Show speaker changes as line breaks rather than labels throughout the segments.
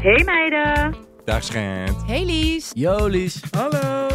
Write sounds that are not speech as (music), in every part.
Hey meiden.
Dag schijnt.
Hey Lies.
Jolies.
Hallo.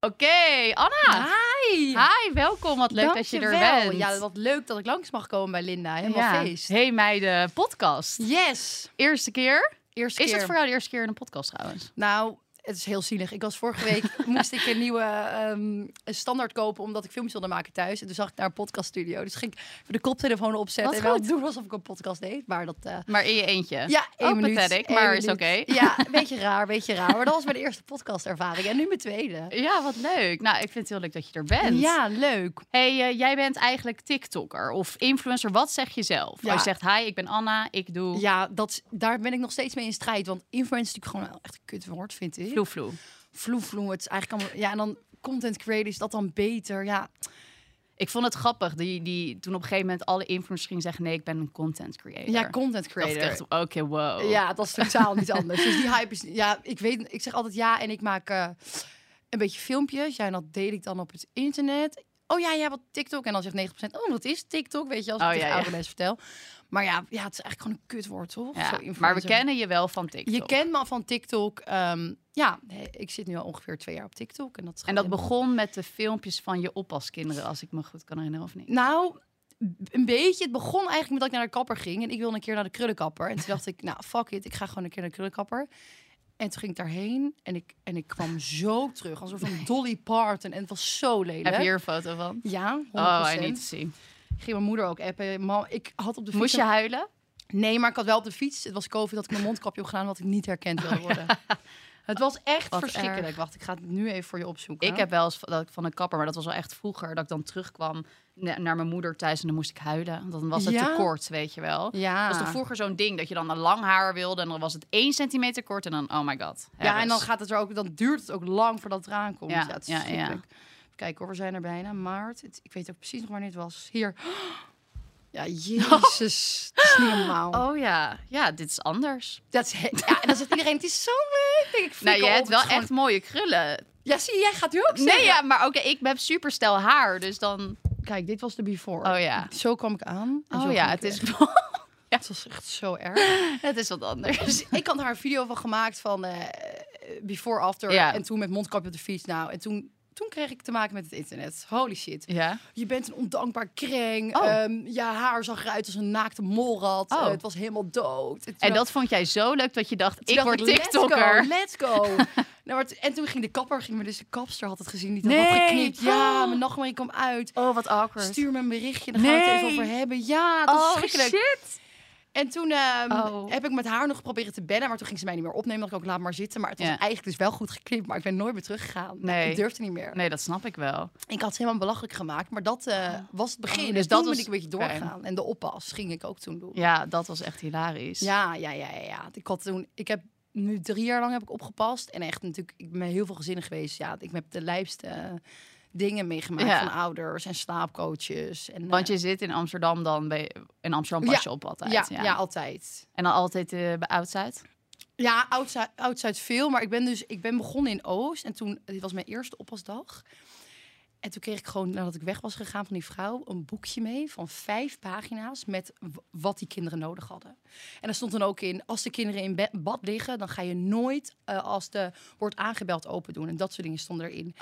Oké, Anna.
Hi.
Hi, welkom. Wat leuk dat je er
Dankjewel.
bent.
Ja, wat leuk dat ik langs mag komen bij Linda. Helemaal
Ja.
feest.
Hey meiden, podcast.
Yes.
Eerste keer.
Eerste
Is
keer.
het voor jou de eerste keer in een podcast trouwens?
Nou, het is heel zielig. Ik was vorige
(laughs)
week, moest ik een nieuwe ehm, een standaard kopen, omdat ik films wilde maken thuis. En toen zag ik naar een podcaststudio. Dus ging ik even de koptelefoon opzetten
Wat
en wel
goed.
doen alsof ik een podcast deed. Maar dat... eh,
Maar in je eentje.
ja, één
Ook
minuut.
pathetic,
één
maar is
minuut.
oké. (laughs)
Ja, een beetje raar, een beetje raar. Maar dat was mijn eerste podcastervaring. En nu mijn tweede.
Ja, wat leuk. Nou, ik vind het heel leuk dat je er bent.
Ja, leuk.
Hey, eh, jij bent eigenlijk TikToker of influencer. Wat zeg je zelf?
Ja.
Als je zegt, hi, ik ben Anna, ik doe
Ja, dat, is- daar ben ik nog steeds mee in strijd. Want influencer is natuurlijk gewoon wel echt een kutwoord, vind ik.
vloe-vloe.
vloevloe. Het is eigenlijk allemaal. Ja, en dan content creator is dat dan beter. Ja,
Ik vond het grappig, die, die, toen op een gegeven moment alle influencers gingen zeggen... nee, ik ben een content creator.
ja content
Dacht ik
creator.
echt, oh. oké, wow.
Ja, dat is totaal niet anders. Dus die hype is. Ja, ik weet. Ik zeg altijd ja en ik maak eh, een beetje filmpjes. Ja, en dat deel ik dan op het internet. Oh ja, ja, wat TikTok. En dan zegt 90%, oh, wat is TikTok? Weet je, als ik
Oh,
het
ja,
tegen
ja.
oude mensen vertel. Maar ja, ja, het is eigenlijk gewoon een kutwoord, toch?
Ja,
Zo
maar we
influencer.
kennen je wel van TikTok.
Je kent me al van TikTok. ehm, ja, nee, ik zit nu al ongeveer twee jaar op TikTok. En dat, is
En
gewoon
dat
helemaal-
begon met de filmpjes van je oppaskinderen, als ik me goed kan herinneren of niet.
Nou, b- een beetje. Het begon eigenlijk met dat ik naar de kapper ging. En ik wilde een keer naar de krullenkapper. En toen dacht ik, nou, fuck it. Ik ga gewoon een keer naar de krullenkapper. En toen ging ik daarheen. En ik, en ik kwam zo terug. Alsof een
(laughs)
Dolly Parton. En het was zo lelijk.
Heb je hier een foto van?
Ja, 100%.
Oh, en niet te zien.
Ik ging mijn moeder ook appen. Mam, ik had op de fiets...
Moest je huilen?
Nee, maar ik had wel op de fiets. Het was COVID dat ik mijn mondkapje op gedaan. Omdat ik niet herkend wilde worden. Het was echt
Oh, Wat
verschrikkelijk.
erg.
Wacht, ik ga het nu even voor je opzoeken.
Ik heb wel eens van- dat ik van een kapper, maar dat was wel echt vroeger, dat ik dan terugkwam na- naar mijn moeder thuis en dan moest ik huilen. Want dan was het
Ja?
te kort, weet je wel.
Ja.
Dat was toch vroeger zo'n ding, dat je dan een lang haar wilde en dan was het één centimeter kort en dan, oh my god.
Ja, en dan,
Harris.
gaat het er ook, dan duurt het ook lang voordat het eraan komt. Ja,
Ja,
het is
ja, ja.
verschrikkelijk. Even kijken hoor, we zijn er bijna. Maart, Het- ik weet ook precies nog wanneer het was. Hier. (laughs) Ja, jezus. Dat is niet normaal.
Oh ja, ja, dit is anders.
Dat is he- ja, en dan zegt iedereen, het is zo leuk. Denk ik, flikker
nou, je
op,
hebt
het is
wel
gewoon-
echt mooie krullen.
Ja, zie je, jij gaat nu ook
Nee,
zeggen.
ja, maar oké, ik heb superstel haar, dus dan...
Kijk, dit was de before.
Oh ja.
Zo kwam ik aan. en zo
Oh
ging
ja,
ik
het
weg.
is,
Het was echt zo erg.
(laughs) het is wat (laughs) anders.
Dus ik had daar een video van gemaakt van eh, before, after.
Ja.
En toen met mondkapje op de fiets. Nou, en toen, toen kreeg ik te maken met het internet. Holy shit.
Ja.
Je bent een ondankbaar kreng.
Oh.
Ehm, je haar zag eruit als een naakte molrat.
Oh.
Eh, het was helemaal dood.
En dat vond jij zo leuk dat je dacht,
toen
ik
dacht
word
let's
TikToker.
go, Let's go.
(laughs)
nou, maar t- en toen ging de kapper, ging me dus de kapster had het gezien. Die had
Nee.
had geknipt. Ja, mijn nachtmerrie kwam uit.
Oh, wat awkward.
Stuur Oh, me een berichtje, dan gaan we het
Nee. Oh,
even over hebben. Ja, dat is verschrikkelijk.
shit.
En toen ehm,
Oh.
heb ik met haar nog geprobeerd te bellen, maar toen ging ze mij niet meer opnemen. Dat ik ook laat maar zitten. Maar het was
Ja.
eigenlijk dus wel goed geknipt, maar ik ben nooit meer teruggegaan.
Nee.
Ik durfde niet meer.
Nee, dat snap ik wel.
Ik had het helemaal belachelijk gemaakt, maar dat eh, was het begin.
Oh,
dus
dus
dat
dat
toen ben
was-
ik een beetje
oké.
doorgegaan. En de oppas ging ik ook toen doen.
Ja, dat was echt hilarisch.
Ja, ja, ja, ja. ja. Ik had toen, ik heb nu drie jaar lang heb ik opgepast en echt natuurlijk, ik ben heel veel gezinnen geweest. Ja, ik heb de lijpste eh, dingen meegemaakt
Ja.
van ouders en slaapcoaches. En,
Want
eh,
je zit in Amsterdam dan, bij, in Amsterdam pas je op altijd.
ja,
Ja,
ja. altijd.
En dan altijd eh, bij Oud-Zuid?
Ja, oud-Zuid oud-Zuid veel, maar ik ben dus, ik ben begonnen in Oost en toen, dit was mijn eerste oppasdag. En toen kreeg ik gewoon, nadat ik weg was gegaan van die vrouw, een boekje mee van vijf pagina's met w- wat die kinderen nodig hadden. En er stond dan ook in, als de kinderen in be- bad liggen, dan ga je nooit eh, als de wordt aangebeld open doen. En dat soort dingen stonden erin.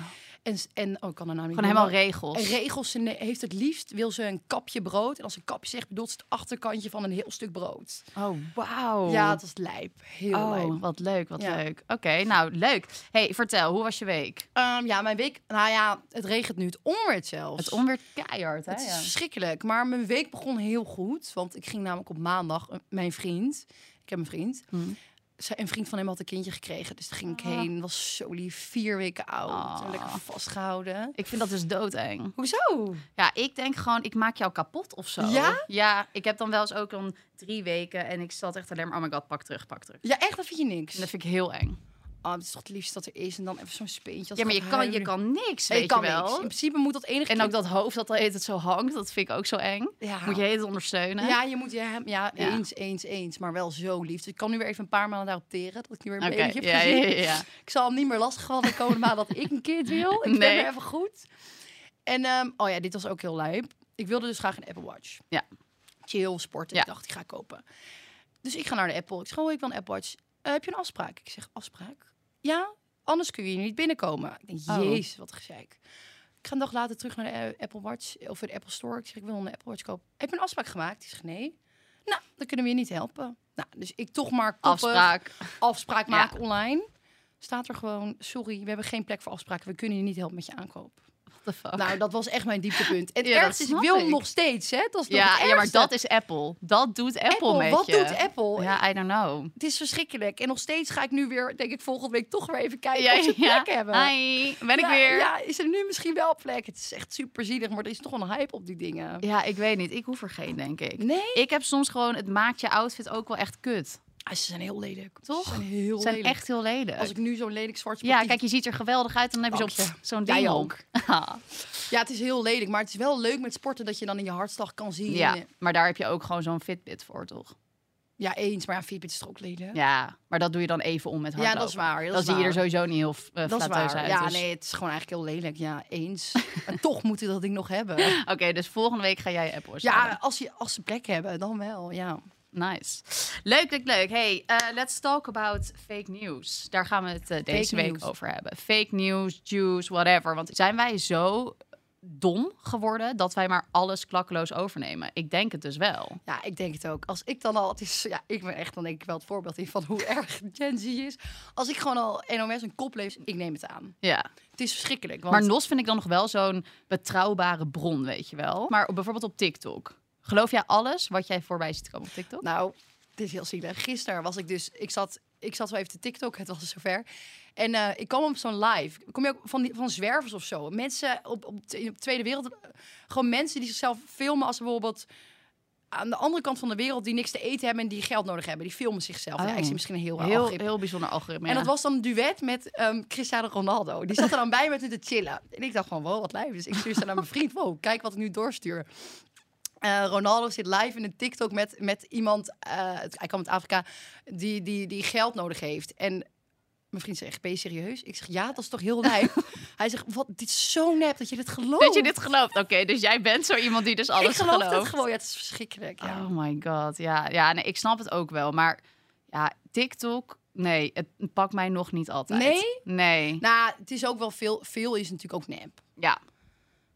En, s- en oh, ik kan de naam niet
Gewoon helemaal
noemen.
regels.
En regels, ze ne- heeft het liefst, wil ze een kapje brood. En als ze kapje zegt, bedoelt ze het achterkantje van een heel stuk brood.
oh, wauw.
Ja, het was lijp. Heel lijp.
Oh, wat leuk, wat
Ja.
leuk. Oké, nou leuk. hey, vertel, hoe was je week?
Ehm, ja, mijn week. Nou ja, het regent nu. Het onweert zelfs.
Het onweer keihard, hè?
Het is
ja.
verschrikkelijk. Maar mijn week begon heel goed. Want ik ging namelijk op maandag. eh, Mijn vriend. Ik heb een vriend.
Hmm.
zij- Een vriend van hem had een kindje gekregen. Dus daar ging ik heen. Was zo lief. Vier weken oud. en
Ah.
Lekker vastgehouden.
Ik vind dat dus doodeng.
Hoezo?
Ja, ik denk gewoon, ik maak jou kapot of zo.
Ja?
Ja, ik heb dan wel eens ook dan drie weken en ik zat echt alleen maar, oh my god, pak terug, pak terug.
Ja, echt, dat vind je niks.
En dat vind ik heel eng.
Ah, het is toch het liefst dat er is. En dan even zo'n speentje. als
Ja, maar
gaat
je kan, je
huilen.
kan niks,
Nee,
weet
je kan
je wel.
niks. In principe moet dat enige
En ook
kind-
dat hoofd dat al heet het zo hangt, dat vind ik ook zo eng.
Ja.
Moet je het ondersteunen.
Ja, je moet je hem, ja,
Ja.
eens, eens, eens, maar wel zo lief. Dus ik kan nu weer even een paar maanden daarop teren, dat ik nu weer een
Oké,
babytje heb
ja,
gezien.
ja, ja, ja.
Ik zal hem niet meer lastigvallen de komende maand dat ik een kind wil. Ik ben
Nee.
weer even goed. En ehm, oh ja, dit was ook heel lijp. Ik wilde dus graag een Apple Watch.
Ja.
Chill, sporten. Ik
Ja.
dacht, die ga ik kopen. Dus ik ga naar de Apple. Ik zeg, oh, ik wil een Apple Watch. Eh, heb je een afspraak? Ik zeg, afspraak? Ja, anders kun je hier niet binnenkomen. Ik denk,
Oh.
jezus, wat een gezeik. Ik ga een dag later terug naar de eh, Apple Watch of de Apple Store. Ik zeg, ik wil een Apple Watch kopen. Heb je een afspraak gemaakt? Die zegt, nee. Nou, dan kunnen we je niet helpen. Nou, dus ik toch maar koppig
Afspraak.
afspraak
Ja.
maken online. Staat er gewoon, sorry, we hebben geen plek voor afspraken. We kunnen je niet helpen met je aankoop.
What the fuck?
Nou, dat was echt mijn dieptepunt. En het
(laughs) Ja, dat
ergste is, ik
snap
wil
ik.
hem nog steeds, hè? Dat is nog
ja,
het
ja, maar
ergste.
dat is Apple. Dat doet Apple,
Apple.
met
wat
je.
doet Apple?
Ja, I don't know.
Het is verschrikkelijk. En nog steeds ga ik nu weer, denk ik, volgende week toch weer even kijken
Ja,
of ze
ja.
plek hebben.
Hi, ben ik
Ja,
weer.
Ja, is er nu misschien wel plek? Het is echt super zielig, maar er is toch wel een hype op die dingen.
Ja, ik weet niet. Ik hoef er geen, denk ik.
Nee?
Ik heb soms gewoon, het maakt je outfit ook wel echt kut.
Ah, ze zijn heel lelijk.
Toch?
Ze zijn heel
Ze zijn
lelijk.
echt heel lelijk.
Als ik nu zo'n lelijk zwart sportief...
Ja, kijk, je ziet er geweldig uit. Dan heb je
Dank
zo'n
je.
zo'n
Jij
ding
ook.
om. (laughs)
Ja, het is heel lelijk, maar het is wel leuk met sporten dat je dan in je hartslag kan zien.
ja, maar daar heb je ook gewoon zo'n Fitbit voor, toch?
Ja, eens. Maar ja, Fitbit is toch ook lelijk?
Ja, maar dat doe je dan even om met
Ja,
hardlopen.
dat is waar. Dat
Dan
is
zie je er
waar.
sowieso niet heel uh,
Dat is waar.
uit.
ja,
dus-
nee, het is gewoon eigenlijk heel lelijk. Ja,
(laughs)
eens. en toch moet je dat ding nog hebben.
Oké, dus volgende week ga jij Apple Watch
Ja,
halen.
als, je, als ze plek hebben, dan wel. Ja.
Nice. Leuk, leuk, leuk. Hey, eh, let's talk about fake news. Daar gaan we het eh, deze week
news.
over hebben. Fake news, juice, whatever. Want zijn wij zo dom geworden dat wij maar alles klakkeloos overnemen? Ik denk het dus wel.
ja, ik denk het ook. Als ik dan al, het is, ja, ik ben echt dan denk ik wel het voorbeeld in van hoe (laughs) erg Gen Z is. Als ik gewoon al NOS een kop lees, ik neem het aan.
Ja.
Het is verschrikkelijk. Want
Maar NOS vind ik dan nog wel zo'n betrouwbare bron, weet je wel. Maar op- bijvoorbeeld op TikTok. Geloof jij alles wat jij voorbij ziet komen op TikTok?
Nou, dit is heel zielig. Gisteren was ik dus, ik zat, ik zat wel even te TikTok, het was zover. En eh, ik kwam op zo'n live. Kom je ook van, die- van zwervers of zo? Mensen op, op, de- op de Tweede Wereld. eh, Gewoon mensen die zichzelf filmen als ze bijvoorbeeld aan de andere kant van de wereld die niks te eten hebben en die geld nodig hebben. Die filmen zichzelf.
Oh.
Ja, ik zie misschien een heel raar
heel,
algoritme.
heel bijzonder algoritme.
En
ja.
dat was dan een duet met ehm, Cristiano Ronaldo. Die zat er dan bij met me te chillen. En ik dacht van, wow, wat lijf. Dus ik stuur ze naar mijn vriend. Wow, kijk wat ik nu doorstuur. Eh, Ronaldo zit live in een TikTok met, met iemand, eh, hij kwam uit Afrika, die, die, die geld nodig heeft. En mijn vriend zegt, ben je serieus? Ik zeg, ja, dat is toch heel
(laughs)
lijf? hij zegt, wat, dit is zo nep dat je dit gelooft.
Dat je dit gelooft. Oké, dus jij bent zo iemand die dus alles
Ik geloof
gelooft.
het gewoon, ja, het is verschrikkelijk. Ja.
Oh my god, ja. Ja, nee, ik snap het ook wel. Maar ja, TikTok, nee, het pakt mij nog niet altijd.
Nee?
Nee.
Nou, het is ook wel veel, veel is natuurlijk ook nep.
Ja,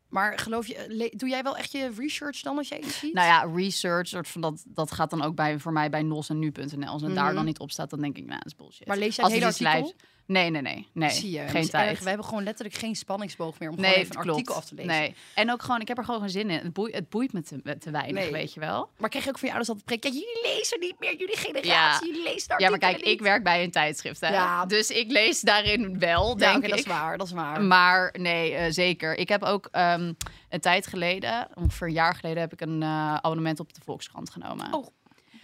Maar geloof je, le- doe jij wel echt je research dan als jij iets ziet?
nou ja, research, soort van dat, dat gaat dan ook bij, voor mij bij nos en nu.nl. Als het daar
Mhm.
dan niet op staat, dan denk ik, nou, dat is bullshit.
Maar lees jij
Als
het
het
hele
iets
artikel?
lijps- Nee, nee, nee. nee.
Zie je, dat
Geen
is
tijd.
erg. We hebben gewoon letterlijk geen spanningsboog meer om
nee,
gewoon even een
het klopt.
artikel af te lezen.
Nee. En ook gewoon, ik heb er gewoon geen zin in. Het boeit, het boeit me te, te weinig,
Nee.
weet je wel.
Maar kreeg je ook van je ouders altijd prik? Kijk, jullie lezen niet meer, jullie generatie, jullie lezen daar
Ja, maar kijk, ik werk bij een tijdschrift, hè.
Ja.
Dus ik lees daarin wel,
Ja,
denk
oké,
ik.
dat is waar, dat is waar.
Maar nee, eh, zeker. Ik heb ook ehm, een tijd geleden, ongeveer een jaar geleden, heb ik een eh, abonnement op de Volkskrant genomen.
Oh,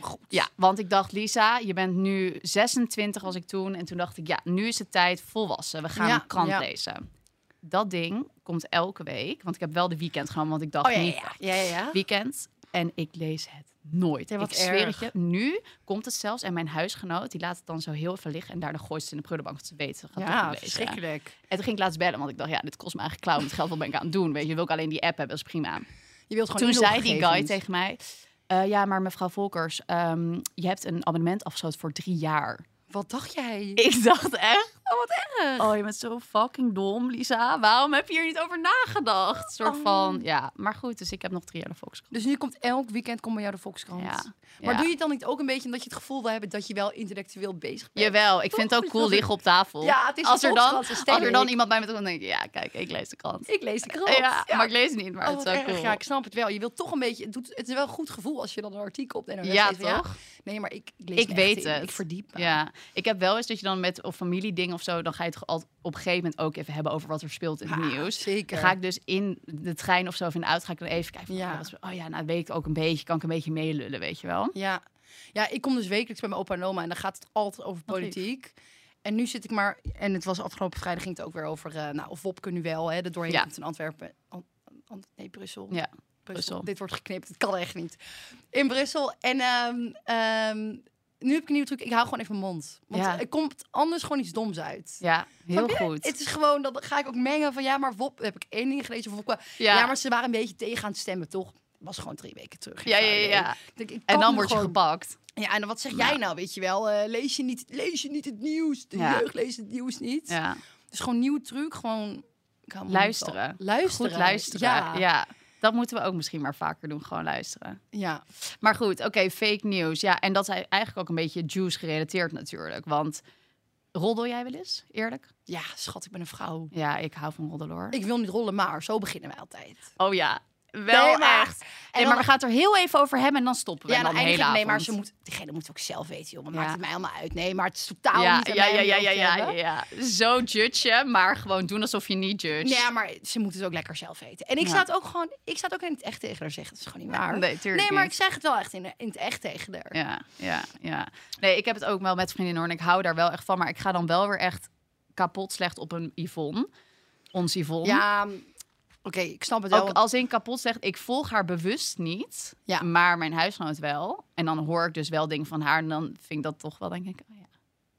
goed.
Ja, want ik dacht, Lisa, je bent nu 26 was ik toen. En toen dacht ik, ja, nu is het tijd volwassen. We gaan
Ja,
een krant
ja.
lezen. Dat ding komt elke week. Want ik heb wel de weekend genomen, want ik dacht
Oh ja,
niet
ja, ja. ja,
Ah.
ja.
weekend. En ik lees het nooit.
Ja, wat
ik zweer
erg.
het je. Nu komt het zelfs. En mijn huisgenoot, die laat het dan zo heel even liggen. En daarna gooit ze het in de prullenbank. Want ze weet, ze gaat het toch
Ja,
niet lezen.
verschrikkelijk.
En toen ging ik laatst bellen, want ik dacht, ja, dit kost me eigenlijk klauw met geld. Wat ben ik aan het doen? Weet je, wil ik alleen die app hebben, dat is prima.
Je wilt gewoon
Toen zei die
inloggegevens.
guy tegen mij, eh, ja, maar mevrouw Volkers, ehm, je hebt een abonnement afgesloten voor drie jaar.
Wat dacht jij?
Ik dacht echt, oh wat erg. Oh, je bent zo fucking dom, Lisa. Waarom heb je hier niet over nagedacht? Soort
Oh.
van, ja, maar goed, dus ik heb nog drie jaar de Volkskrant.
Dus nu komt elk weekend komt bij jou de Volkskrant.
Ja.
Maar
Ja.
doe je het dan niet ook een beetje omdat je het gevoel wil hebben dat je wel intellectueel bezig bent?
Jawel, ik vind het ook cool liggen op tafel.
Ja, het is
als
de
er dan,
Volkskrant,
als
dat
er
stel
dan
ik.
iemand bij me komt, dan denk ik, ja, kijk, ik lees de krant.
Ik lees de krant.
Ja,
Ja.
maar ik lees het niet, maar
Oh,
het is
wat
wel
erg.
cool.
Ja, ik snap het wel. Je wilt toch een beetje... Het, doet, het is wel een goed gevoel als je dan een artikel op de NOS
Ja,
leest van,
toch?
nee, maar ik, ik lees
Ik
me
weet
echt in.
het.
Ik verdiep me.
Ja, ik heb wel eens dat je dan met of familieding of zo, dan ga je het al- op een gegeven moment ook even hebben over wat er speelt in het
Ah,
nieuws.
zeker.
Dan ga ik dus in de trein of zo of in de auto, ga ik dan even kijken. Van,
Ja.
oh, wat is- oh ja, nou weet ik ook een beetje, kan ik een beetje meelullen, weet je wel.
Ja. ja, ik kom dus wekelijks bij mijn opa en oma en dan gaat het altijd over
Wat Oh, lief.
politiek. En nu zit ik maar, en het was afgelopen vrijdag, ging het ook weer over, eh, nou, of Wopke nu wel, hè, er doorheen
Ja.
komt in Antwerpen. An- An- nee, Brussel.
Ja,
Brussel.
Brussel.
Dit wordt geknipt, het kan echt niet. In Brussel. En ehm, ehm, nu heb ik een nieuwe truc. Ik hou gewoon even mijn mond. Want
Ja.
er komt anders gewoon iets doms uit.
Ja, heel
Snap je?
goed.
Het is gewoon, dan ga ik ook mengen van ja, maar Wop, heb ik één ding gelezen. Van, Wop, ja.
ja.
maar ze waren een beetje tegen aan het stemmen, toch? Was gewoon drie weken terug.
ja, ja, ja, ja.
Ik denk, ik
En
kan
dan
me
word je
gewoon-
gepakt.
Ja, en dan wat zeg jij nou, weet je wel? Eh, lees, je niet, lees je niet het nieuws? De
Ja.
jeugd leest het nieuws niet.
Ja.
Dus gewoon nieuwe truc, gewoon... ik hou mijn mond
Luisteren.
al- Luisteren.
Goed luisteren.
Ja.
Ja.
ja.
Dat moeten we ook misschien maar vaker doen, gewoon luisteren. Maar goed, oké, fake news. Ja, en dat is eigenlijk ook een beetje juice gerelateerd natuurlijk. Want roddel jij wel eens, eerlijk?
Ja, schat, ik ben een vrouw.
Ja, ik hou van roddelen hoor.
Ik wil niet rollen, maar zo beginnen wij altijd.
Oh ja, wel
Nee, maar-
echt.
En
En
dan-
maar we gaan het er heel even over hebben en dan stoppen we.
Ja,
en
dan
dan de hele
eindig ik, nee,
avond.
maar ze moet, diegene moet ook zelf weten, joh. Wat
Ja.
maakt het mij allemaal uit? Nee, maar het is totaal
ja,
niet aan
ja,
mij
ja,
om
ja,
erover
ja,
te
ja,
hebben.
ja. Zo judgen, maar gewoon doen alsof je niet judge.
Nee, maar ze moet het ook lekker zelf weten. En ik
Ja.
sta het ook gewoon, ik sta het ook in het echt tegen haar zeggen. Dat is gewoon niet waar.
Nee, tuurlijk
Nee, maar ik
niet.
zeg het wel echt in, in het echt tegen haar.
Ja, ja, ja. Nee, ik heb het ook wel met vriendinnen hoor. En ik hou daar wel echt van. Maar ik ga dan wel weer echt kapot slecht op een Yvonne. Ons Yvonne.
Ja, oké, ik snap het wel.
Ook als in kapot zegt, ik volg haar bewust niet,
Ja.
maar mijn huisgenoot wel. En dan hoor ik dus wel dingen van haar en dan vind ik dat toch wel, denk ik, oh ja,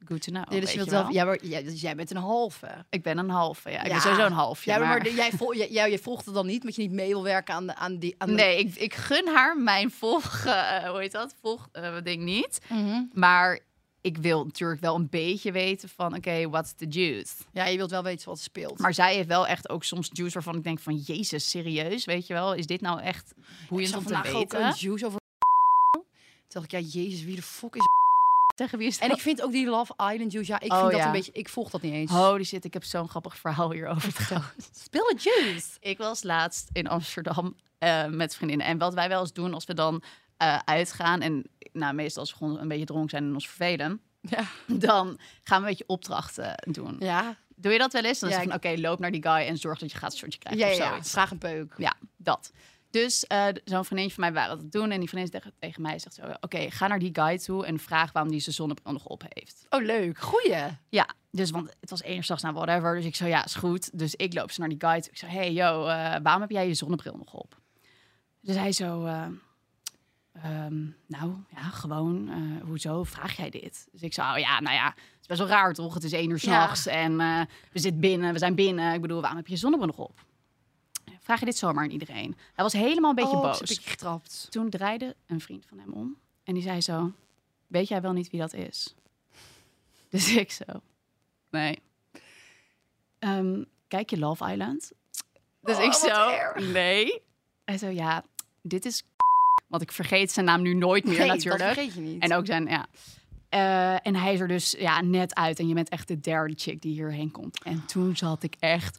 good to know.
Nee, dus
weet je
je wilt
wel.
wel, ja, maar, ja, dus jij bent een halve.
Ik ben een halve, ja. Ik
Ja.
ben sowieso een halfje.
Ja, maar,
maar...
de- jij, vol, jij, jij, jij volgt het dan niet, omdat je niet mee wil werken aan, de, aan die... Aan de-
Nee, ik, ik gun haar mijn volg, (laughs) eh, hoe heet dat, volg eh, ding niet.
Mhm.
Maar ik wil natuurlijk wel een beetje weten van, oké, what's the juice?
Ja, je wilt wel weten wat er speelt.
Maar zij heeft wel echt ook soms juice waarvan ik denk van, jezus, serieus, weet je wel? Is dit nou echt
ik
boeiend
zag
om te
vandaag ook
weten?
een juice over... Toen dacht ik, ja, jezus, wie de fuck is
Tegen wie is dat?
En ik vind ook die Love Island juice. Ja, ik
Oh,
vind dat
ja.
een beetje. Ik volg dat niet eens.
Holy shit, ik heb zo'n grappig verhaal hierover trouwens.
Speel het juice.
Ik was laatst in Amsterdam eh, met vriendinnen. En wat wij wel eens doen als we dan eh, uitgaan... en nou, meestal als we gewoon een beetje dronken zijn en ons vervelen...
Ja.
dan gaan we een beetje opdrachten doen.
Ja.
Doe je dat wel eens? Dan
Ja,
zeg je van, oké, loop naar die guy en zorg dat je gaat shortje krijgt
Ja,
of
ja.
zoiets.
Vraag een peuk.
Ja, dat. Dus eh, zo'n vriendinnetje van mij waren dat aan het doen. En die vriendin tegen, tegen mij zegt zo... Oké, ga naar die guy toe en vraag waarom die zijn zonnebril nog op heeft.
Oh, leuk. Goeie.
Ja, dus want het was enerzijds nou whatever. Dus ik zei, ja, is goed. Dus ik loop ze naar die guide. Ik zei, hey yo, eh, waarom heb jij je zonnebril nog op? Dus hij zo, eh, ehm, nou ja, gewoon, eh, hoezo vraag jij dit? Dus ik zei, oh ja, nou ja, het is best wel raar toch? Het is één uur
Ja.
s'nachts en eh, we zitten binnen, we zijn binnen. Ik bedoel, waarom heb je je zonnebril nog op? Vraag je dit zomaar aan iedereen? Hij was helemaal een beetje
oh,
boos.
Ik heb je getrapt.
Toen draaide een vriend van hem om en die zei zo: Weet jij wel niet wie dat is? (laughs) Dus ik zo: Nee. Ehm, kijk je Love Island? Dus
Oh,
ik
wat
zo:
erg.
Nee. Hij zo: Ja, dit is. (laughs) Want ik vergeet zijn naam nu nooit meer
nee, Dat
natuurlijk.
vergeet je niet.
En ook zijn, ja. Eh, en hij is er dus ja, net uit. En je bent echt de derde chick die hierheen komt. En toen zat ik echt...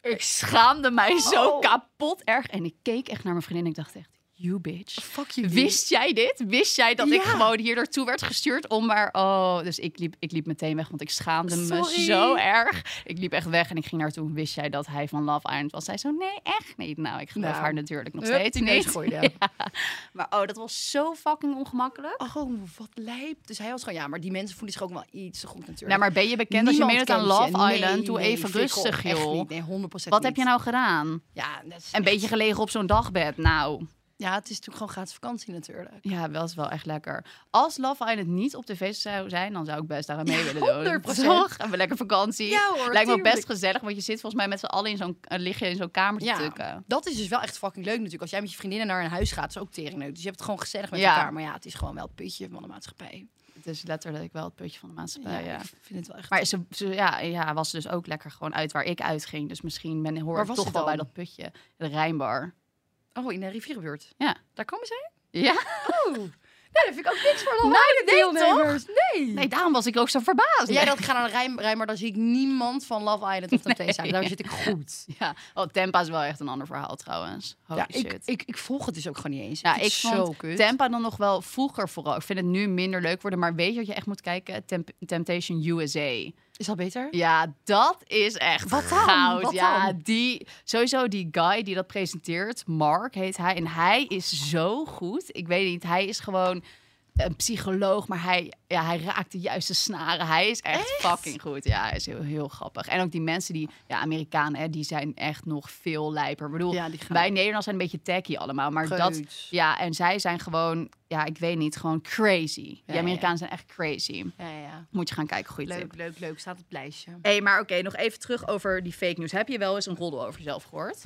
ik schaamde mij zo
Oh.
kapot erg. En ik keek echt naar mijn vriendin en ik dacht echt... You bitch.
Fuck you.
Wist jij dit? Wist jij dat ik
Ja.
gewoon hier naartoe werd gestuurd om maar... Oh, dus ik liep, ik liep meteen weg, want ik schaamde me
Sorry.
zo erg. Ik liep echt weg en ik ging naartoe. Wist jij dat hij van Love Island was? Zij zo, nee, echt niet. Nou, ik geloof
Nou.
haar natuurlijk nog
Hup,
steeds
die neus
niet.
gooide.
(laughs) Ja. Maar oh, dat was zo fucking ongemakkelijk.
Oh, wat lijp. Dus hij was gewoon, ja, maar die mensen voelen zich ook wel iets te goed natuurlijk.
Ja, Nou, maar ben je bekend als je
Niemand
meedoet aan
kent je.
Love
Nee,
Island? Doe
nee,
even
flikker op.
rustig,
Echt
joh.
niet. Nee, 100
Wat heb je nou gedaan?
Ja, dat is
Een beetje gelegen op zo'n dagbed. Nou,
ja, het is natuurlijk gewoon gratis vakantie natuurlijk.
ja, wel is wel echt lekker. Als Love Island niet op tv zou zijn, dan zou ik best daar mee willen doen.
100%.
Toch? Hebben we lekker vakantie.
Ja hoor,
Lijkt me ook best
tuurlijk.
gezellig, want je zit volgens mij met z'n allen in zo'n, eh, lig je in zo'n kamer te
Ja,
tukken.
dat is dus wel echt fucking leuk natuurlijk. Als jij met je vriendinnen naar een huis gaat, is ook teringleuk. Dus je hebt het gewoon gezellig met
Ja.
elkaar. Maar ja, het is gewoon wel het putje van de maatschappij.
Het is letterlijk wel het putje van de maatschappij, ja.
ik vind het wel echt...
Maar ze, ze- ja, ja, was dus ook lekker gewoon uit waar ik uitging. Dus misschien ben, hoor
Waar
ik
was
toch
het
wel bij
dan?
dat putje. De Rijnbar.
Oh, in de rivierenbuurt.
Ja.
Daar komen zij?
Ja.
Oh. Nou, daar vind ik ook niks voor.
Nou,
Love
nee,
Island deelnemers. Nee. Dus-
Nee, daarom was ik ook zo verbaasd.
Jij dat ik ga naar de Rijn, Rijn, maar dan zie ik niemand van Love Island of Temptation. Island. Daar
Nee.
zit ik goed.
(laughs) (laughs) Ja, oh, Tempa is wel echt een ander verhaal trouwens. Holy
ja, ik,
shit.
ik, ik volg het dus ook gewoon niet eens.
ja,
vind
ik
het
vond
zo kut.
Tempa dan nog wel vroeger vooral. Ik vind het nu minder leuk worden, maar weet je wat je echt moet kijken? Temp- Temptation USA.
Is dat beter?
Ja, dat is echt
Wat dan?
goud.
Wat
ja,
dan?
die sowieso die guy die dat presenteert, Mark heet hij, en hij is zo goed. Ik weet niet, hij is gewoon een psycholoog, maar hij, ja, hij raakt de juiste snaren. Hij is echt, fucking goed. Ja, hij is heel, heel grappig. En ook die mensen die, ja, Amerikanen, hè, die zijn echt nog veel lijper. Ik bedoel,
Ja, die gaan
wij Nederlanders zijn een beetje tacky allemaal, maar dat,
Preuts.
ja, en zij zijn gewoon, ja, ik weet niet, gewoon crazy.
Ja,
die Amerikanen zijn echt crazy.
Ja, ja.
Moet je gaan kijken, goede tip.
Leuk, leuk, leuk. Staat op het lijstje.
Hé, maar oké, nog even terug over die fake news. Heb je wel eens een roddel over jezelf gehoord?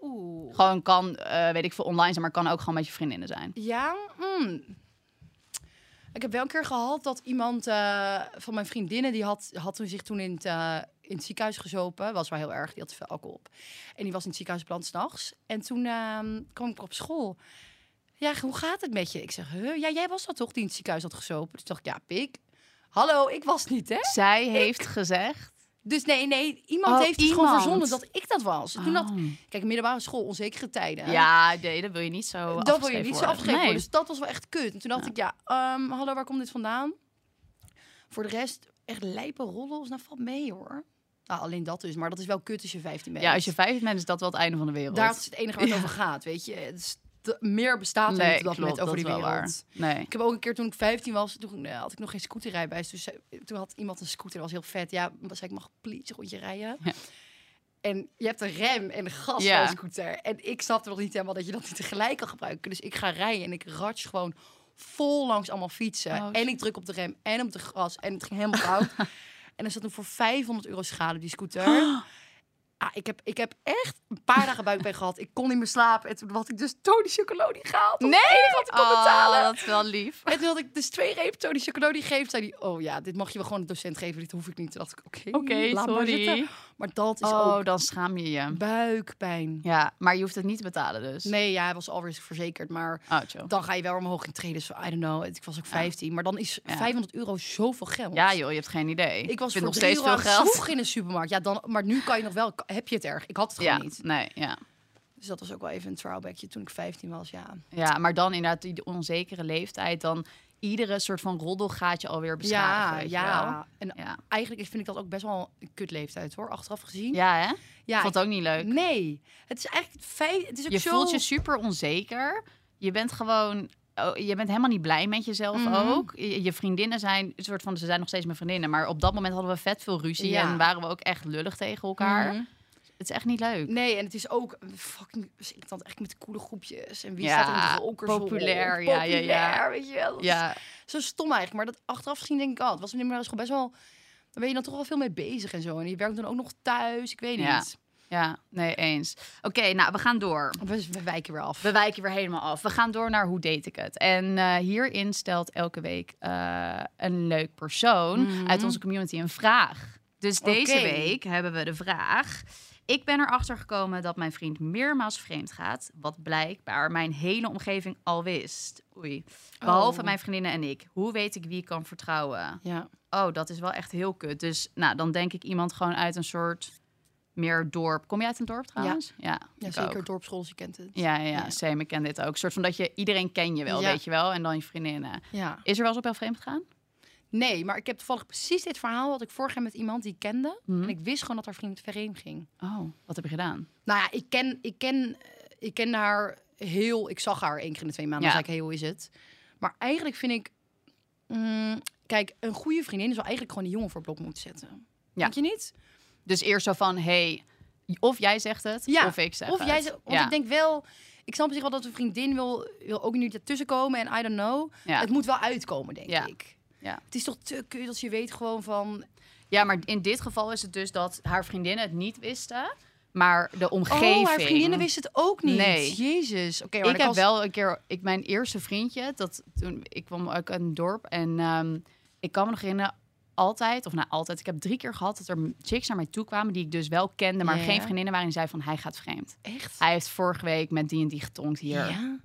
Oeh.
Gewoon kan, eh, weet ik veel, online zijn, maar kan ook gewoon met je vriendinnen zijn.
Ja, mm. ik heb wel een keer gehad dat iemand eh, van mijn vriendinnen, die had, had toen zich toen in het, eh, in het ziekenhuis gezopen. Was wel heel erg, die had te veel alcohol op. En die was in het ziekenhuis beland s'nachts. En toen ehm, kwam ik op school. Ja, hoe gaat het met je? Ik zeg, huh? ja, jij was dat toch die in het ziekenhuis had gezopen? Dus dacht ik, ja, pik. Hallo, ik was niet, hè?
Zij heeft gezegd.
Dus nee, nee, iemand
Oh,
heeft het gewoon
iemand.
verzonnen dat ik dat was. Toen had,
Oh.
kijk, middelbare school, onzekere tijden.
Ja, nee, dat wil je niet zo.
dat wil je niet zo afgegeven
Nee.
worden. Dus dat was wel echt kut. En toen dacht ik, ja, ehm, hallo, waar komt dit vandaan? Voor de rest, echt lijpe roddels, nou valt mee hoor. Nou, alleen dat dus. Maar dat is wel kut als je 15 bent.
Ja, als je vijf bent, is dat wel het einde van de wereld.
Daar is het enige waar het over gaat, weet je. Het is- de- meer bestaat er niet op dat
klopt,
moment over
dat
die
is wel
wereld. (gasps)
waar. Nee.
Ik heb ook een keer toen ik 15 was, toen eh, had ik nog geen scooterrijbewijs. Dus eh, toen had iemand een scooter, dat was heel vet. Ja, was ik mag please een rondje rijden.
Ja.
En je hebt een rem en een gas
Ja.
van een scooter. En ik snapte nog niet helemaal dat je dat niet tegelijk kan gebruiken. Dus ik ga rijden en ik ratsch gewoon vol langs allemaal fietsen.
Oh,
en ik druk op de rem en op de gas. En het ging helemaal fout.
(laughs)
en er zat toen voor 500 euro schade op die scooter. Ah, ik, heb, ik heb echt een paar dagen buikpijn gehad. Ik kon niet meer slapen. En toen had ik dus Tony Chocolonely gehaald.
Nee! Oh,
Wat ik kon betalen.
dat is wel lief.
(laughs) En toen had ik dus twee reep Tony Chocolonely geeft. Zei die, oh ja, dit mag je wel gewoon een docent geven. Dit hoef ik niet. Toen dacht ik, oké,
Oké,
laat maar zitten.
sorry.
Maar dat is
Oh,
ook
dan schaam je je.
buikpijn.
Ja, maar je hoeft het niet te betalen dus.
Nee, ja, hij was alweer verzekerd. Maar
Oh, chill.
dan ga je wel omhoog in treden. Dus I don't know. Ik was ook 15. Maar dan is
Ja.
500 euro zoveel geld.
Ja joh, je hebt geen idee.
Ik was
vind
voor
nog
drie
steeds
euro
veel
aan het
geld.
zwoegen in de supermarkt. Ja, dan, maar nu kan je nog wel. Heb je het erg? Ik had het gewoon
Ja,
niet.
nee, ja.
Dus dat was ook wel even een throwbackje toen ik 15 was. Ja,
ja. Maar dan inderdaad die onzekere leeftijd, dan iedere soort van roddel gaat je alweer beschadigen. weet je wel.
En
Ja.
eigenlijk vind ik dat ook best wel een kutleeftijd hoor. Achteraf gezien.
Ja, hè?
Ja,
Vond
ik-
het ook niet leuk.
Nee, het is eigenlijk feit. Het is ook
Je
zo.
voelt je super onzeker. Je bent gewoon. oh, je bent helemaal niet blij met jezelf
Mhm.
ook. Je, je vriendinnen zijn een soort van. Ze zijn nog steeds mijn vriendinnen. Maar op dat moment hadden we vet veel ruzie.
Ja.
En waren we ook echt lullig tegen elkaar.
Mhm.
Het is echt niet leuk.
Nee, en het is ook fucking dus irritant. Echt met de coole groepjes. En wie
Ja,
staat er in de rockers
populair,
rond?
ja, ja, ja.
Populair, weet je wel. Dat is
Ja,
Zo stom eigenlijk. Maar dat achteraf gezien denk ik al. Het was in de middelbare school dus best wel... Daar ben je dan toch wel veel mee bezig en zo. En je werkt dan ook nog thuis. Ik weet
Ja.
niet.
ja, nee, eens. Oké, nou, we gaan door.
We, we wijken weer af.
We wijken weer helemaal af. We gaan door naar hoe date ik het. En eh, hierin stelt elke week eh, een leuk persoon uit onze community een vraag. Dus deze
Mhm. Oké.
week hebben we de vraag. Ik ben erachter gekomen dat mijn vriend meermaals vreemd gaat. Wat blijkbaar mijn hele omgeving al wist. Oei. Behalve
Oh.
mijn vriendinnen en ik. Hoe weet ik wie ik kan vertrouwen?
Ja.
Oh, dat is wel echt heel kut. Dus nou, dan denk ik iemand gewoon uit een soort meer dorp. Kom je uit een dorp trouwens? Ja,
Ja,
ik ook.
zeker dorpsschool, je kent het.
Ja, ja,
Ja.
ja. same. Ik ken dit ook. Een soort van dat je iedereen ken je wel,
Ja.
weet je wel, en dan je vriendinnen.
Ja.
Is er wel eens op heel vreemd gegaan?
Nee, maar ik heb toevallig precies dit verhaal... had ik vorig jaar met iemand die ik kende.
Mhm.
En ik wist gewoon dat haar vriend vreemd ging.
Oh, wat heb je gedaan?
Nou ja, ik ken, ik ken, eh, ik ken haar heel. Ik zag haar één keer in de twee maanden.
Ja.
Dan zei ik, hey, hoe is het? Maar eigenlijk vind ik. mm, kijk, een goede vriendin zou eigenlijk gewoon die jongen voor het blok moeten zetten.
Ja.
Denk je niet?
Dus eerst zo van, hey, of jij zegt het,
Ja,
of ik zeg
of
het.
jij, ze- want
ja.
ik denk wel. Ik snap op zich wel dat een vriendin wil, wil ook niet ertussen komen en I don't know.
Ja.
Het moet wel uitkomen, denk
Ja.
ik.
Ja.
Het is toch te kut als je weet gewoon van...
ja, maar in dit geval is het dus dat haar vriendinnen het niet wisten, maar de omgeving.
Oh, haar vriendinnen wisten het ook niet.
Nee.
Jezus. Oké, maar
Ik
dan
heb
kan ze-
wel een keer, ik, mijn eerste vriendje, dat toen ik kwam ook uit een dorp en ehm, ik kan me nog herinneren, altijd, of nou altijd, ik heb drie keer gehad dat er chicks naar mij toe kwamen die ik dus wel kende, maar
Ja.
geen vriendinnen waren en die zei van hij gaat vreemd.
Echt?
Hij heeft vorige week met die en die getonkt hier. Ja,
Ja?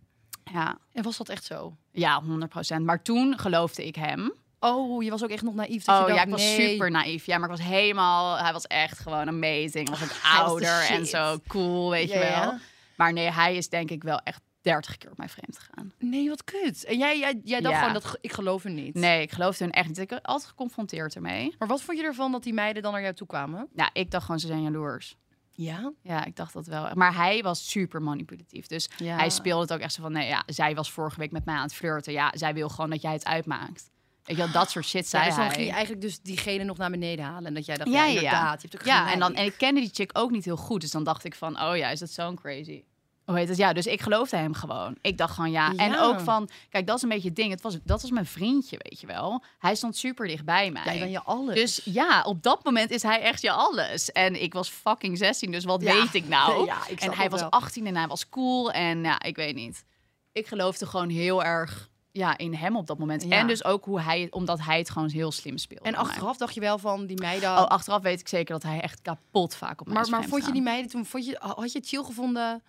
ja.
En was dat echt zo?
100 Maar toen geloofde ik hem.
Oh, je was ook echt nog naïef. Dat je
oh
dacht,
ja, ik was
nee.
super naïef. Ja, maar ik was helemaal... Hij was echt gewoon amazing. Hij was ook
Ah, (laughs) hij was de
ouder en
shit.
zo cool, weet
Ja,
je wel.
ja.
Maar nee, hij is denk ik wel echt 30 keer op mij vreemd gegaan.
Nee, wat kut. En jij, jij, jij dacht
Ja.
gewoon, dat, ge- ik geloof hem niet.
Nee, ik geloofde hun echt niet. Ik heb altijd geconfronteerd ermee.
Maar wat vond je ervan dat die meiden dan naar jou toe kwamen?
Nou, ik dacht gewoon, ze zijn jaloers.
Ja?
Ja, ik dacht dat wel. Maar hij was super manipulatief. Dus
ja.
hij speelde het ook echt zo van... Nee, ja, zij was vorige week met mij aan het flirten. Ja, zij wil gewoon dat jij het uitmaakt. Weet je wel, dat soort shit
Ja,
zei
dus dan
hij.
ging je eigenlijk dus diegene nog naar beneden halen. En dat jij dacht,
Ja,
ja,
ja, ja.
inderdaad. Je hebt ook
Ja, en,
gelijk.
dan, en ik kende die chick ook niet heel goed. Dus dan dacht ik van, oh ja, is dat zo'n crazy? Hoe heet het? Ja, dus ik geloofde hem gewoon. Ik dacht gewoon ja. En
Ja.
ook van, kijk, dat is een beetje het ding. Het was, dat was mijn vriendje, weet je wel. Hij stond super dicht bij mij.
Jij bent je alles.
dus ja, op dat moment is hij echt je alles. En ik was fucking 16, dus wat
Ja.
weet ik nou?
Ja, ik snap
en hij
dat
was
wel.
18 en hij was cool. En ja, ik weet niet. Ik geloofde gewoon heel erg ja, in hem op dat moment.
Ja.
En dus ook hoe hij, omdat hij het gewoon heel slim speelde.
En
Maar-
achteraf dacht je wel van die meiden.
Oh, achteraf weet ik zeker dat hij echt kapot vaak op mij
maar
is
maar
vreemd
vond je die
gegaan.
meiden toen, vond je, had je het chill gevonden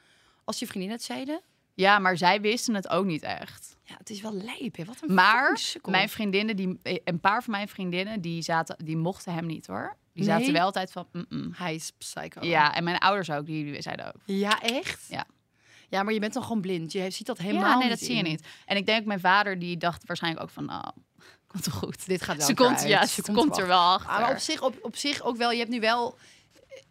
als je vriendin het zeiden?
Ja, maar zij wisten het ook niet echt.
Ja, het is wel lijp, hè? Wat een fucking
Maar
sukkel.
mijn vriendinnen, die, eh, een paar van mijn vriendinnen, die, zaten, die mochten hem niet hoor. Die zaten
Nee? Oh.
wel altijd van, mm-mm.
Hij is psycho.
Ja, en mijn ouders ook, die, die zeiden ook.
Ja, echt?
Ja.
Ja, maar je bent dan gewoon blind. Je ziet dat helemaal
ja,
niet
nee, dat zie je
in.
niet. En ik denk mijn vader, die dacht waarschijnlijk ook van, oh, (laughs) komt wel goed.
Dit gaat wel
Ze
een keer
komt,
uit.
ja,
Ze
ze komt er wel achter.
Ah, maar op zich, op, op zich ook wel. Je hebt nu wel...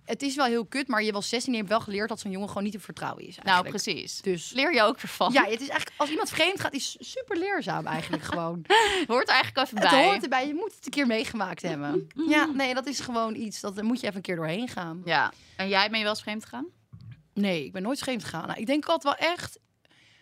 Het is wel heel kut, maar je was 16 en je hebt wel geleerd dat zo'n jongen gewoon niet te vertrouwen is
nou,
eigenlijk.
precies.
Dus
Leer je ook ervan. (laughs)
ja, het is eigenlijk, als iemand vreemd gaat, is super leerzaam (laughs) eigenlijk gewoon.
Hoort er eigenlijk even
Het
bij.
hoort erbij, je moet het een keer meegemaakt hebben. Ja, nee, dat is gewoon iets, dat daar moet je even een keer doorheen gaan.
Ja. En jij ben je wel eens vreemd gegaan?
Nee, ik ben nooit vreemd gegaan. Nou, ik denk altijd wel echt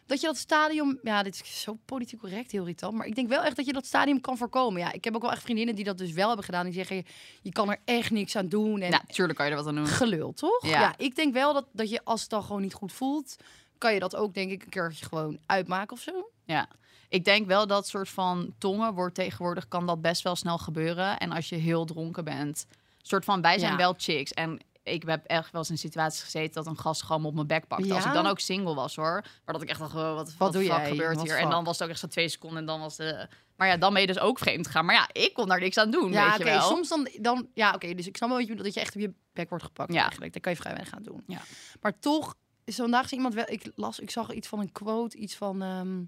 dat je dat stadium... Ja, dit is zo politiek correct, heel irritant. Maar ik denk wel echt dat je dat stadium kan voorkomen. Ja, ik heb ook wel echt vriendinnen die dat dus wel hebben gedaan. Die zeggen, je, je kan er echt niks aan doen. En
Ja, natuurlijk kan je er wat aan doen.
gelul, toch?
Nou, mm. Ja.
Ja. ik denk wel dat, dat je als het dan gewoon niet goed voelt... kan je dat ook denk ik een keertje gewoon uitmaken of zo.
Ja, ik denk wel dat soort van tongen wordt tegenwoordig kan dat best wel snel gebeuren. En als je heel dronken bent, soort van wij zijn
Ja.
wel chicks en ik heb echt wel eens in situaties gezeten dat een gast gewoon op mijn bek pakte. Als
Ja?
ik dan ook single was hoor. Maar dat ik echt dacht, oh, wat, wat,
doe
fuck
jij?
gebeurt
Wat
hier? En
fuck?
dan was het ook echt zo twee seconden en dan was de... Maar ja, dan ben je dus ook vreemd gaan. Maar ja, ik kon daar niks aan doen,
ja,
weet
oké,
je wel.
soms dan... dan ja, oké, dus ik snap wel wat je bedoelt, dat je echt op je bek wordt gepakt
Ja.
eigenlijk. Daar kan je vrij weinig aan doen.
Ja.
Maar toch is vandaag zo iemand wel... Ik las, ik zag iets van een quote, iets van... ehm,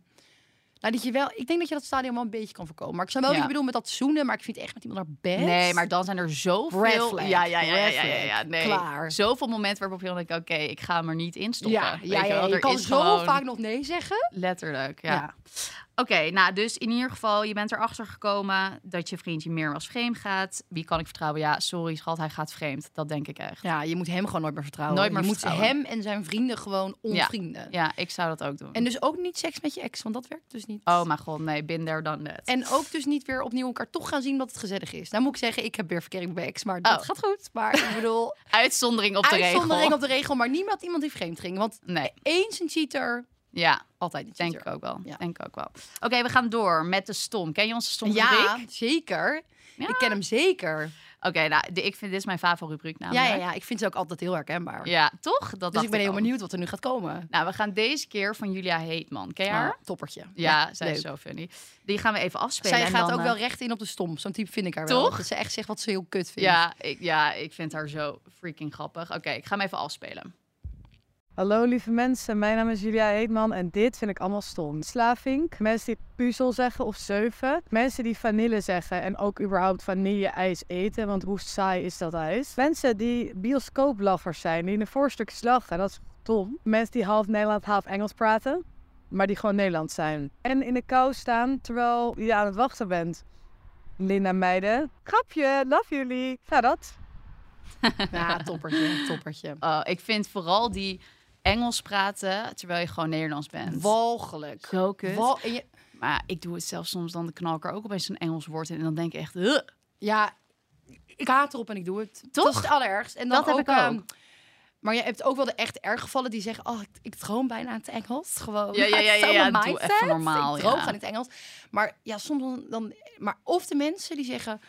nou, dat je wel... Ik denk dat je dat stadium wel een beetje kan voorkomen. Maar ik snap wel wat
Ja.
je bedoelt met dat zoenen, maar ik vind echt met iemand naar bed...
Nee, maar dan zijn er zoveel...
Red flag,
ja, ja, ja, ja,
red
ja, ja,
flag.
ja, nee.
Klaar.
Zoveel momenten waarop je denkt, oké, ik ga hem er niet in stoppen.
Ja,
Weet
ja,
je
ja,
wel,
je
er
kan
is
zo
gewoon-
vaak nog nee zeggen.
Letterlijk, ja. Oké, nou dus in ieder geval, je bent erachter gekomen dat je vriendje meer als vreemd gaat. Wie kan ik vertrouwen? Ja, sorry schat, hij gaat vreemd. Dat denk ik echt.
Ja, je moet hem gewoon nooit meer vertrouwen.
Nooit meer
je moet
vertrouwen.
hem en zijn vrienden gewoon onvrienden.
Ja, ik zou dat ook doen.
En dus ook niet seks met je ex, want dat werkt dus niet.
Oh mijn god, nee, bin there, done that.
En ook dus niet weer opnieuw elkaar toch gaan zien dat het gezellig is. Nou moet ik zeggen, ik heb weer verkering bij ex, maar dat
Oh.
gaat goed. Maar ik
(laughs)
bedoel,
Uitzondering op de
uitzondering
regel.
op de regel, maar niemand iemand die vreemd ging. Want
Nee,
eens een cheater,
ja,
altijd een
denk
cheater.
ik ook wel.
Ja.
Denk ik ook wel. Oké, we gaan door met de stom. Ken je onze stom
Ja,
rubriek?
zeker.
Ja.
Ik ken hem zeker.
Oké, nou, de- ik vind dit is mijn favoriete rubriek
ja,
namelijk.
ja, ja, ik vind ze ook altijd heel herkenbaar.
Ja, toch? Dat
dus ik ben heel
helemaal nieuw.
benieuwd wat er nu gaat komen.
Nou, we gaan deze keer van Julia Heetman. Ken je haar?
Ah, toppertje.
Ja, zij is
leuk.
zo funny. Die gaan we even afspelen.
Zij
en
gaat
dan,
ook
eh,
wel recht in op de stom. Zo'n type vind ik haar wel.
Toch?
Dat ze echt zegt wat ze heel kut vindt.
Ja ik, ja, ik vind haar zo freaking grappig. Oké, ik ga hem even afspelen.
Hallo lieve mensen, mijn naam is Julia Heetman en dit vind ik allemaal stom. Slavink, mensen die puzzel zeggen of zeuven, mensen die vanille zeggen en ook überhaupt vanille-ijs eten, want hoe saai is dat ijs? Mensen die bioscooplaffers zijn, die in de voorstukjes lachen, dat is stom. Mensen die half Nederland, half Engels praten, maar die gewoon Nederland zijn. En in de kou staan terwijl je aan het wachten bent. Linda meiden, grapje, love jullie. Ja, dat.
Ja, toppertje,
(laughs)
toppertje.
Oh, ik vind vooral die Engels praten terwijl je gewoon Nederlands bent.
Walgelijk.
Zo kut.
Wal- en je-
Maar ik doe het zelf soms dan knal ik er ook opeens een Engels woord in. En dan denk ik echt, "Ugh."
Ja, ik haat erop en ik doe het.
Toch?
Dat is het allerergst. En dan
Dat heb
ook,
ik ook.
ehm, maar je hebt ook wel de echt erg gevallen die zeggen... oh, ik, ik droom bijna aan het Engels. Gewoon. (laughs)
Ja, ja,
Het is
ja, ja,
zo
ja,
mijn
doe
mindset.
even normaal,
Ik droom
ja.
aan het Engels. Maar ja, soms dan, dan- Maar of de mensen die zeggen...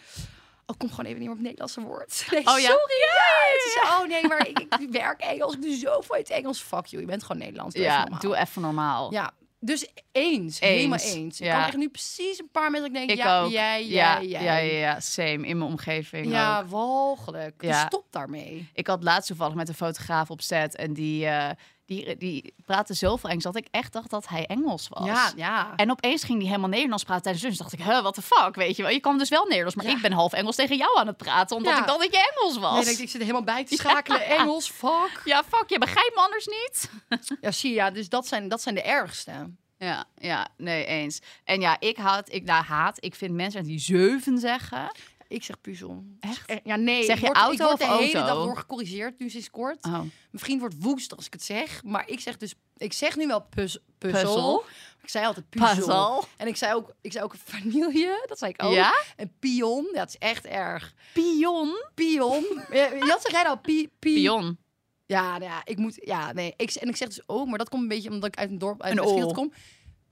Oh, kom gewoon even niet meer op het Nederlandse woord. (laughs) Nee,
Oh, ja.
sorry. Ja, het is, oh nee, maar ik, ik werk Engels. Ik doe zoveel in het Engels. Fuck you, je bent gewoon Nederlands. doe even
ja,
normaal.
doe even normaal.
Ja, dus eens, helemaal eens. Ik
ja.
kan echt nu precies een paar mensen dat ik
Ik
denk, ja,
ook.
jij,
ja,
jij,
ja,
jij.
ja, ja, same. In mijn omgeving ook.
Ja, walgelijk. Dus
Ja.
stop daarmee.
Ik had laatst toevallig met een fotograaf op set en die, eh, die, die praatte zoveel Engels dat ik echt dacht dat hij Engels was.
Ja, ja.
En opeens ging hij helemaal Nederlands praten tijdens lunch. Dacht ik, huh, what the fuck, weet je wel. Je kan dus wel Nederlands, maar
Ja.
ik ben half Engels tegen jou aan het praten. Omdat
Ja.
ik dacht dat je Engels
Nee,
was.
ik, ik zit er helemaal bij (laughs) te schakelen. Engels, fuck.
Ja, fuck, je begrijpt me anders niet.
Ja, zie je, ja, dus dat zijn, dat zijn de ergste.
Ja, ja, nee, eens. En ja, ik haat, ik nou, haat, ik vind mensen die zeven zeggen.
Ik zeg puzzel.
Echt?
Eh, Ja, nee.
Zeg
ik
je
word,
auto
ik word
of
de hele
auto?
dag door gecorrigeerd, nu sinds kort.
Oh,
Ah. Mijn vriend wordt woest als ik het zeg. Maar ik zeg dus... Ik zeg nu wel puz, puzzel.
puzzel.
Ik zei altijd puzzel.
Puzzel.
En ik zei ook, ik zei ook vanille. Dat zei ik ook.
Ja?
En pion. Ja, dat is echt erg.
Pion.
Pion. (laughs) Ja, dat zeg jij nou? Pi, pi-
Pion.
Ja, nou ja, ik moet... Ja, nee. Ik, en ik zeg dus ook, maar dat komt een beetje omdat ik uit een dorp uit
Een
Westfield
ool.
kom.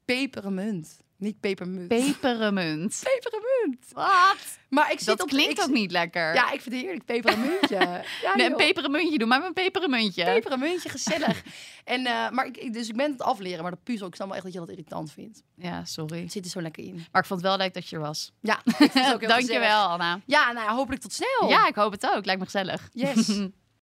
Pepermunt. Niet pepermunt.
Pepermunt.
(laughs) pepermunt.
(laughs) Wat?
Maar ik zit
Dat
op-
klinkt
ik-
ook niet lekker.
Ja, ik vind het heerlijk. (laughs) Pepermuntje. ja,
nee, een
joh.
pepermuntje, doe maar een pepermuntje.
Pepermuntje, (laughs) gezellig. en, eh, maar ik- ik, dus ik ben het afleren, maar de puzzel, ik snap wel echt dat je dat irritant vindt.
Ja, sorry.
Het zit er zo lekker in.
Maar ik vond het wel leuk dat je er was.
(laughs) Ja, ik vond het ook heel gezellig.
Dankjewel, Anna.
Ja, nou ja, hopelijk tot snel. (laughs)
Ja, ik hoop het ook. Lijkt me gezellig.
Yes.